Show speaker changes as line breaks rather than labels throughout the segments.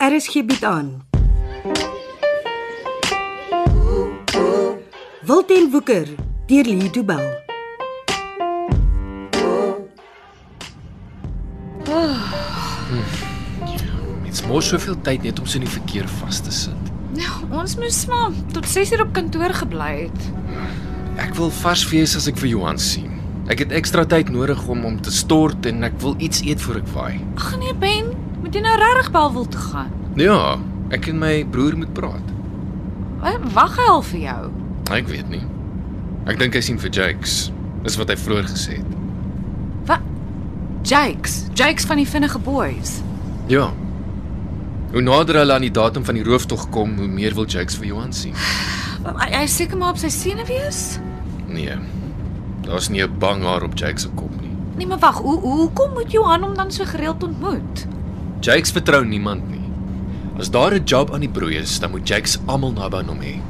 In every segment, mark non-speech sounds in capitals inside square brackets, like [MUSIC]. RSG bied Er aan. Wilten Woeker deur Lee Du Bell.
Mens mors soveel tyd net om so in die verkeer vas te sit.
Nou, Ons moes maar tot 6uur op kantoor gebly het.
Ek wil vars wees as ek vir Johan sien. Ek het ekstra tyd nodig om hom te stort en ek wil iets eet voor ek vaai.
Ag nee Ben, moet jy nou regtig Belwel toe gaan?
Ja, ek en my broer moet praat. Nou,
Wa- Wag hy al vir jou.
Ek weet nie. Ek dink hy sien vir Jakes. Dis wat hy vroeër gesê het.
Wat? Jakes, Jakes van die vinnige boys.
Ja. Hoe nader hulle aan die datum van die rooftog kom, hoe meer wil Jakes vir Johan sien.
Hy hy is seker maar op sy senuwees.
Nee. Daar's nie 'n bang haar op Jakes se kop nie.
Nee, maar wag, hoe hoe kom moet Johan hom dan so gereeld ontmoet?
Jakes vertrou niemand nie. As daar 'n job aan die broei is, dan moet Jakes almal naby aan hom hê.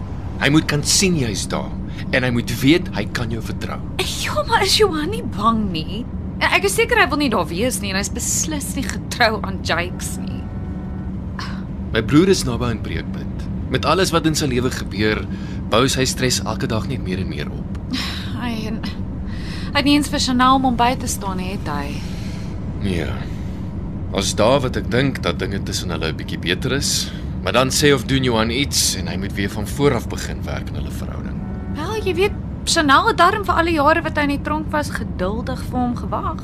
Hy moet kan sien jy's daar en hy moet weet hy kan jou vertrou.
Ja, maar is Johan nie bang nie? En ek is seker hy wil nie daar wees nie en hy's beslis nie getrou aan Jakes nie.
My broer is naby aan breekpunt. Met alles wat in sy lewe gebeur, bou sy stres elke dag net meer en meer op.
Hy en hy het nie eens vir Chanel om hom by te staan nie, het hy.
Nee. As daar wat ek dink dat dinge tussen hulle 'n bietjie beter is, maar dan sê of doen Johan iets en hy moet weer van voor af begin werk aan hulle verhouding.
Wel, jy weet, Chanel het darm vir al die jare wat hy in die tronk was geduldig vir hom gewag.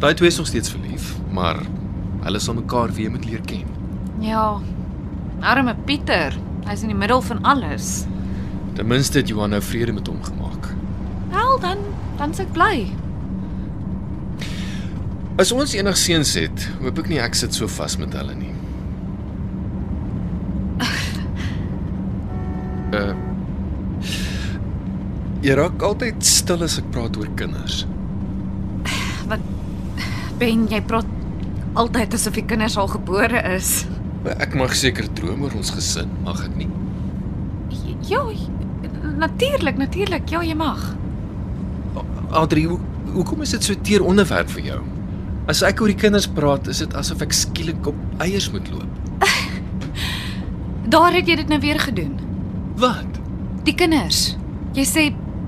Daai twee is nog steeds verlief, maar hulle sal mekaar weer moet leer ken.
Ja. Arme Pieter, hy's in die middel van alles.
Ten minste het Johan nou vrede met hom gemaak.
Wel, dan dan's ek bly.
As ons enig seuns het, hoop ek nie ek sit so vas met hulle nie. Uh Jy raak altyd stil as ek praat oor kinders.
Ben, jy praat altyd asof die kinders al gebore is.
Maar Ek mag seker droom oor ons gesin, mag ek nie?
Ja, natuurlik, natuurlik. Ja, jy mag.
Adri, hoe, hoekom is dit so teer onderwerp vir jou? As ek oor die kinders praat, is dit asof ek skielik op eiers moet loop.
Daar het jy dit nou weer gedoen.
Wat?
Die kinders. Jy sê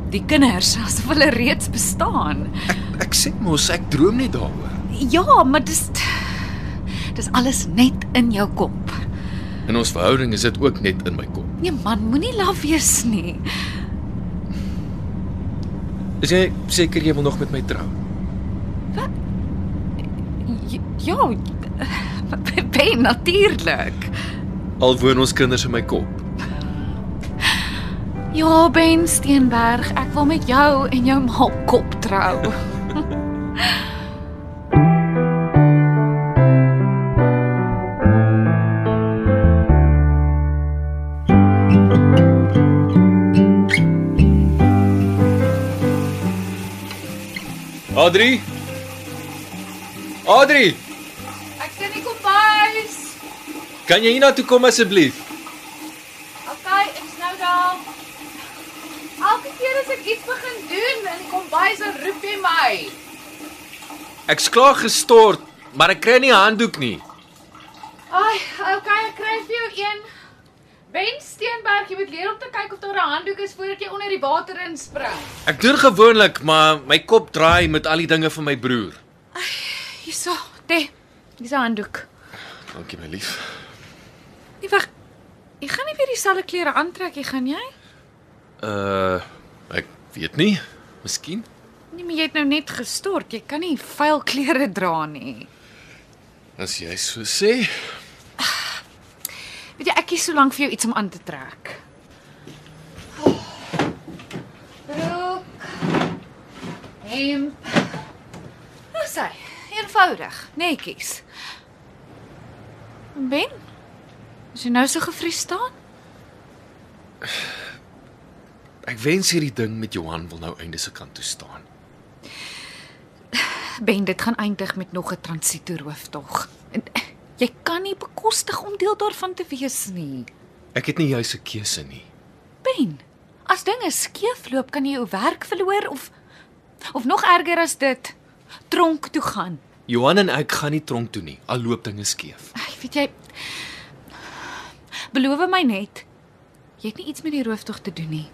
die kinders asof hulle reeds bestaan.
Ek sê mos ek droom net daaroor.
Ja, maar dis dis alles net in jou kop.
In ons verhouding is dit ook net in my kop.
Nee man, moenie laf wees nie.
Is jy seker jy wil nog met my trou?
J- Ja, [LAUGHS] ben natuurlik.
Al woon ons kinders in my kop.
Ja, Ben Steenberg, ek wil met jou en jou ma kop trou.
Adri? Adri,
[LAUGHS] Ek sien nie kom bys.
kan jy hiernatoe kom asseblief?
Okay, ek's nou daar. Elke keer as ek iets begin doen in die kombuis, dan roep jy my.
Ek's klaar gestort, maar ek kry nie 'n handdoek nie.
Ai, okay, ek kry vir jou een. Ben Steenberg, jy moet leer om te kyk of daar 'n handdoek is voordat jy onder die water inspring.
Ek doen gewoonlik, maar my kop draai met al die dinge van my broer.
Hierso, te. Dis 'n handdoek.
Dankie my lief.
Nee, wag. Jy gaan nie weer dieselfde klere aantrek nie, gaan jy?
Uh ek weet nie. Miskien.
Nee, maar jy het nou net gestort. Jy kan nie vuil klere dra nie.
As jy so sê.
Weet jy, ek kies so lank vir jou iets om aan te trek. Broek. Hemp. Nou sê, eenvoudig, netjies. Ben? Is jy nou so gevries staan?
Ek wens hierdie ding met Johan wil nou einde se kant toe staan.
Ben, dit gaan eindig met nog 'n transitoerhooftog. En, eh, Jy kan nie bekostig om deel daarvan te wees nie.
Ek het nie jouse keuse nie.
Ben, as dinge skeefloop, kan jy jou werk verloor of of nog erger as dit, tronk toe gaan.
Johan en ek gaan nie tronk toe nie. Al loop dinge skeef.
Ai, weet jy beloof my net jy het nie iets met die rooftog te doen nie.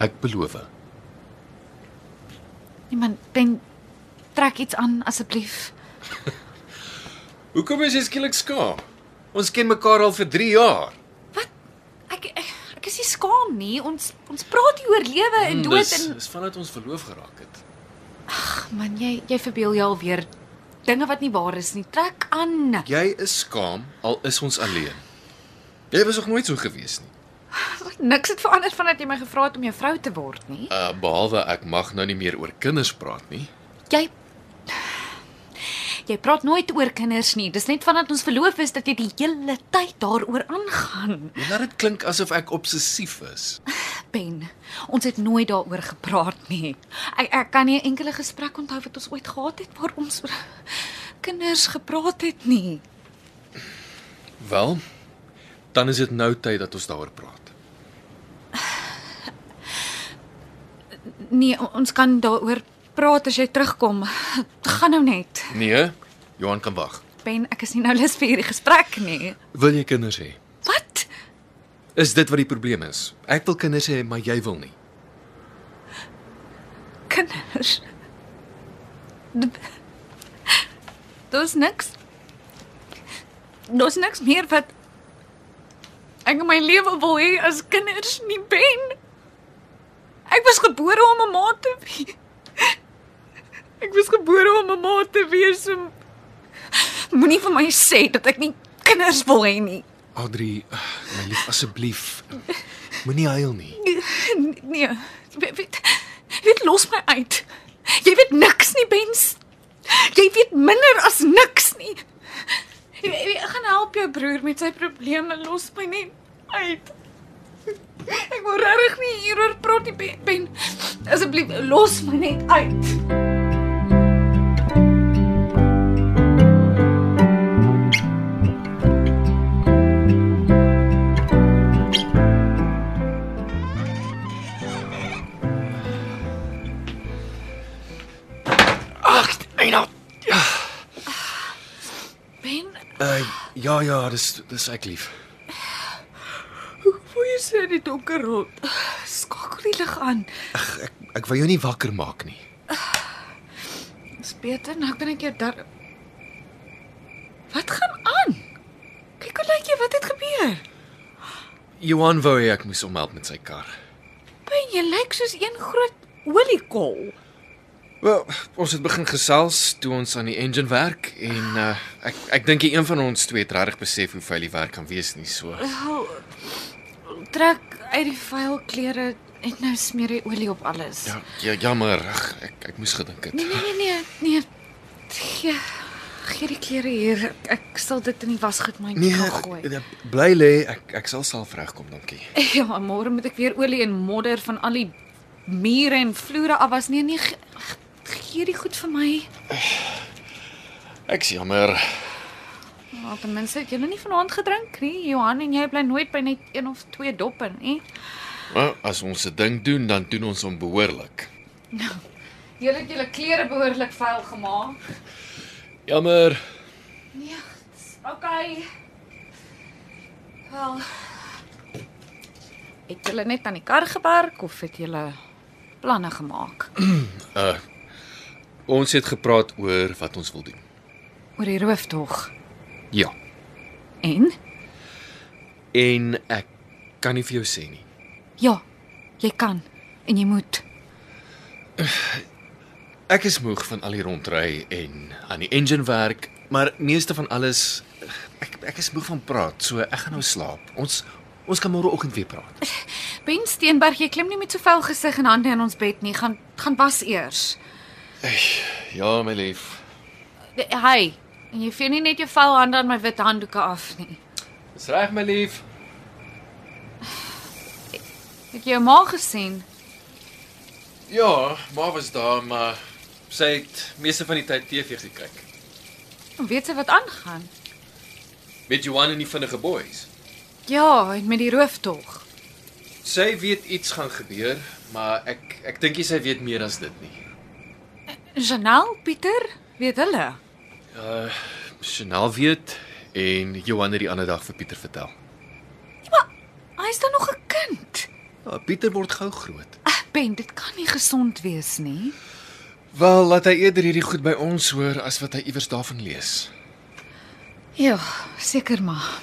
Ek beloof.
Niemand pen Nee, trek iets aan asseblief.
Hoekom is jy skielik skaam? Ons ken mekaar al vir 3 jaar.
Wat? Ek ek, ek is nie skaam nie. Ons ons praat hier oor lewe en dood en
Hmm, dis vandat ons verloof geraak het.
Ag man, jy jy verbeel jou alweer dinge wat nie waar is nie. Trek aan.
Jy is skaam al is ons alleen. Jy was nog nooit so gewees nie.
Niks het verander vandat jy my gevra het om jou vrou te word nie.
Uh behalwe ek mag nou nie meer oor kinders praat nie.
Jy Jy praat nooit oor kinders nie. Dis net vandat ons verloof is dat jy die hele tyd daaroor aangaan.
Jy Ja, laat dit klink asof ek obsessief is.
Ben, ons het nooit daaroor gepraat nie. Ek ek kan nie 'n enkele gesprek onthou wat ons ooit gehad het waar ons oor kinders gepraat het nie.
Wel, dan is dit nou tyd dat ons daaroor praat.
Nee, o- ons kan daaroor praat as jy terugkom. Gaan nou net.
Nee, Johan kan wag.
Ben, ek is nie nou lus vir hierdie gesprek nie.
Wil jy kinders hê?
Wat?
Is dit wat die probleem is? Ek wil kinders hê, maar jy wil nie.
Kinders. D- Daar's niks. Daar's niks meer wat ek in my lewe wil hê as kinders nie ben. Ek was gebore om 'n ma te wees. Ek was gebore om 'n ma te wees. so Moenie vir my sê dat ek nie kinders wil hê nie.
Audrey, eh, my lief, asseblief, moenie huil nie.
Nee. Weet, weet, weet los my uit. Jy weet niks nie, Bens. Jy weet minder as niks nie. Jy- jy- Ek gaan help jou broer met sy probleme. Los my net uit. Ek wil regtig nie hieroor praat nie, Ben- Ben. Asseblief, los my net uit.
Ag, nee, nou. Eina.
Ben,
Uh, ja ja, dis dis ek lief.
hoe voel jy so in die donker rond? Skakel die lig aan.
Ek ek wil jou nie wakker maak nie.
Dis beter, nou kan ek jou daar Wat gaan aan? Kyk hoe lyk jy, wat het gebeur?
Johan wou hê ek moes hom help met sy kar.
Ben, jy lyk soos een groot oliekol.
Wel, ons het begin gesels toe ons aan die engine werk en uh, ek ek dink nie een van ons twee het regtig besef hoe vuil die werk kan wees nie, so.
Wel, trek uit die vuil klere en nou smeer jy olie op alles.
Ja, ja jammer, ag, ek ek moes gedink
Nee,
het.
nee, nee, nee, nee. Gee gee die klere hier. Ek, ek sal dit in die wasgoed my nee, gooi.
Nee, bly lê, ek ek sal self regkom, dankie.
[LAUGHS] Ja, môre moet ek weer olie en modder van al die mure en vloere afwas. Nee, nee, ge- ge- gee die goed vir my.
Ek's jammer.
Maar ten minste het jy nog nie vanaand gedrink nie. Johan en jy bly nooit by net een of twee doppe nie.
Maar as ons 'n ding doen, dan doen ons hom behoorlik.
Julle het julle klere behoorlik vuil gemaak.
Jammer.
Nee, dis okay. Wel. Het julle net aan die kar gewerk of het julle planne gemaak
Uh ons het gepraat oor wat ons wil doen.
oor die rooftog?
Ja.
En
En ek kan nie vir jou sê nie.
ja, jy kan en jy moet.
Ek is moeg van al die rondry en aan die engine werk, maar meeste van alles ek ek is moeg van praat, so ek gaan nou slaap. Ons ons kan môreoggend weer praat.
Ben Steenberg, jy klim nie met so vuil gesig en hande in ons bed nie. Gaan gaan was eers.
Ja, my lief.
Hey, en jy vee nie net jou vuil hande aan my wit handdoeke af nie.
Dis reg, my lief.
Het jy jou ma gesien?
Ja, ma was daar, maar sy het meeste van die tyd TV gekyk.
En weet sy wat aangaan?
Met Johan en die vinnige boys.
Ja, en met die rooftog.
Sy weet iets gaan gebeur, maar ek ek dink nie sy weet meer as dit nie.
Janel, Pieter, weet hulle.
Uh Chanel weet en Johan het die ander dag vir Pieter vertel.
Hy's dan nog 'n kind.
Ja, Pieter word gou groot.
Ag Ben, dit kan nie gesond wees nie.
Wel, laat hy eerder hierdie goed by ons hoor as wat hy iewers daarvan lees.
Ja, seker maar.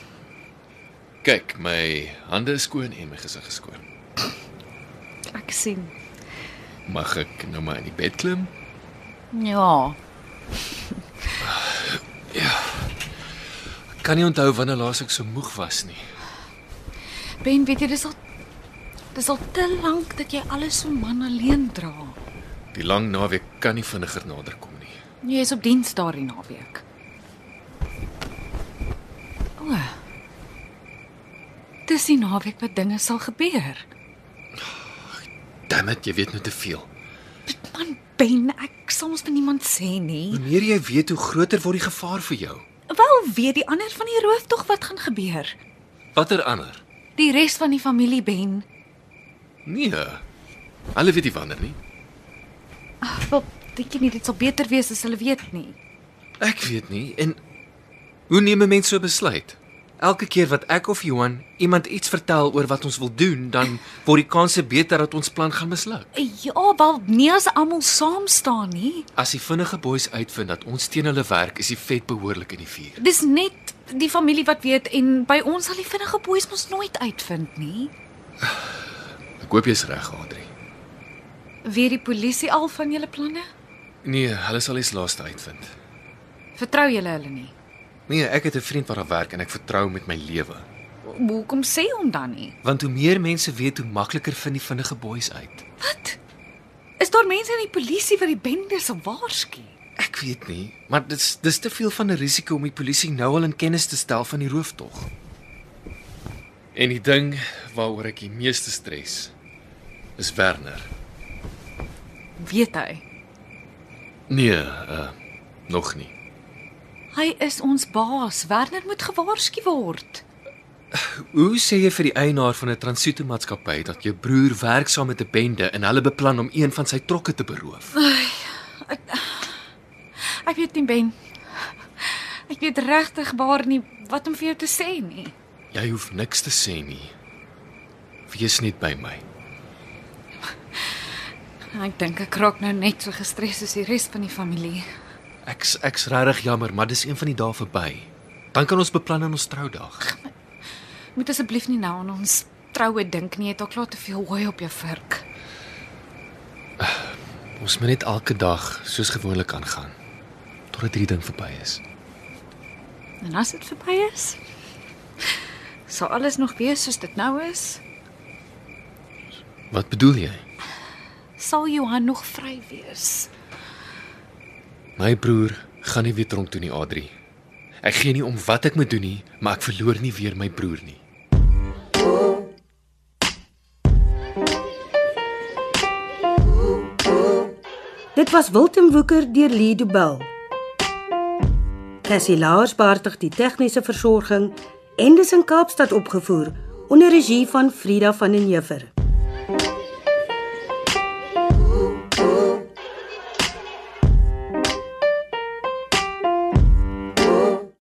Kyk, my hande is skoon en my gesig is skoon.
Ek sien.
Mag ek nou maar in die bed klim?
Ja.
Ek kan nie onthou wanneer laas ek so moeg was nie.
Ben, weet jy dis al dis al te lank dat jy alles so man alleen dra.
Die lang naweek kan nie vinniger nader kom nie.
Jy is op diens daardie naweek. O. Dis die naweek wat dinge sal gebeur.
Damn it, jy weet nou te veel.
Man, Ben, ek sal mos vir niemand sê nie.
Hoe meer jy weet, hoe groter word die gevaar vir jou.
Wel weet die ander van die rooftog wat gaan gebeur.
Watter ander?
Die res van die familie Ben.
Nee. Hulle weet nie wanneer nie.
Ag, wel, dink jy nie dit sal beter wees as hulle weet nie?
Ek weet nie en hoe neem 'n mens so 'n besluit? Elke keer wat ek of Johan iemand iets vertel oor wat ons wil doen, dan word die kanse beter dat ons plan gaan misluk.
Ja, wel nie as almal saam staan nie.
As die vinnige boeis uitvind dat ons teen hulle werk, is die vet behoorlik in die vuur.
Dis net die familie wat weet en by ons sal die vinnige boeis mos nooit uitvind nie.
Ek hoop jy's reg, Adri.
Weet die polisie al van julle planne?
Nee, hulle sal iets laaste uitvind.
Vertrou julle hulle nie?
Nee, ek het 'n vriend wat daar werk en ek vertrou hom met my lewe.
Ho- Hoekom sê hom dan nie?
Want hoe meer mense weet, hoe makliker vind die vinnige boeis uit.
Wat? Is daar mense in die polisie wat die bende sal waarsku?
Ek weet nie, maar dis dis te veel van 'n risiko om die polisie nou al in kennis te stel van die rooftog. En die ding waaroor ek die meeste stres is Werner.
Weet hy?
Nee, uh nog nie.
Hy is ons baas. Werner moet gewaarsku word.
Hoe sê jy vir die eienaar van 'n transito maatskappy dat jou broer werk saam met 'n bende en hulle beplan om een van sy trokke te beroof?
Ek weet nie Ben. Ek weet regtig waar nie wat om vir jou te sê nie.
Jy hoef niks te sê nie. Wees net by my.
Ek dink ek raak nou net so gestres soos die res van die familie.
Ek's ek's regtig jammer, maar dis een van die dae verby. Dan kan ons beplan aan ons troudag.
Moet asseblief nie nou aan ons troue dink nie. Jy het al klaar te veel hooi op jou vurk.
Ons moet net elke dag soos gewoonlik aangaan totdat hierdie ding verby is.
En as dit verby is, sal alles nog wees soos dit nou is.
Wat bedoel jy?
Sal Johan nog vry wees?
My broer gaan nie weer dronk toe nie, Adri. Ek gee nie om wat ek moet doen nie, maar ek verloor nie weer my broer nie.
Dit was Wilten Woeker deur Lido Bell. Cassie Lars beheer die tegniese versorging en dis in Kaapstad opgevoer onder regie van Frida van den Heever.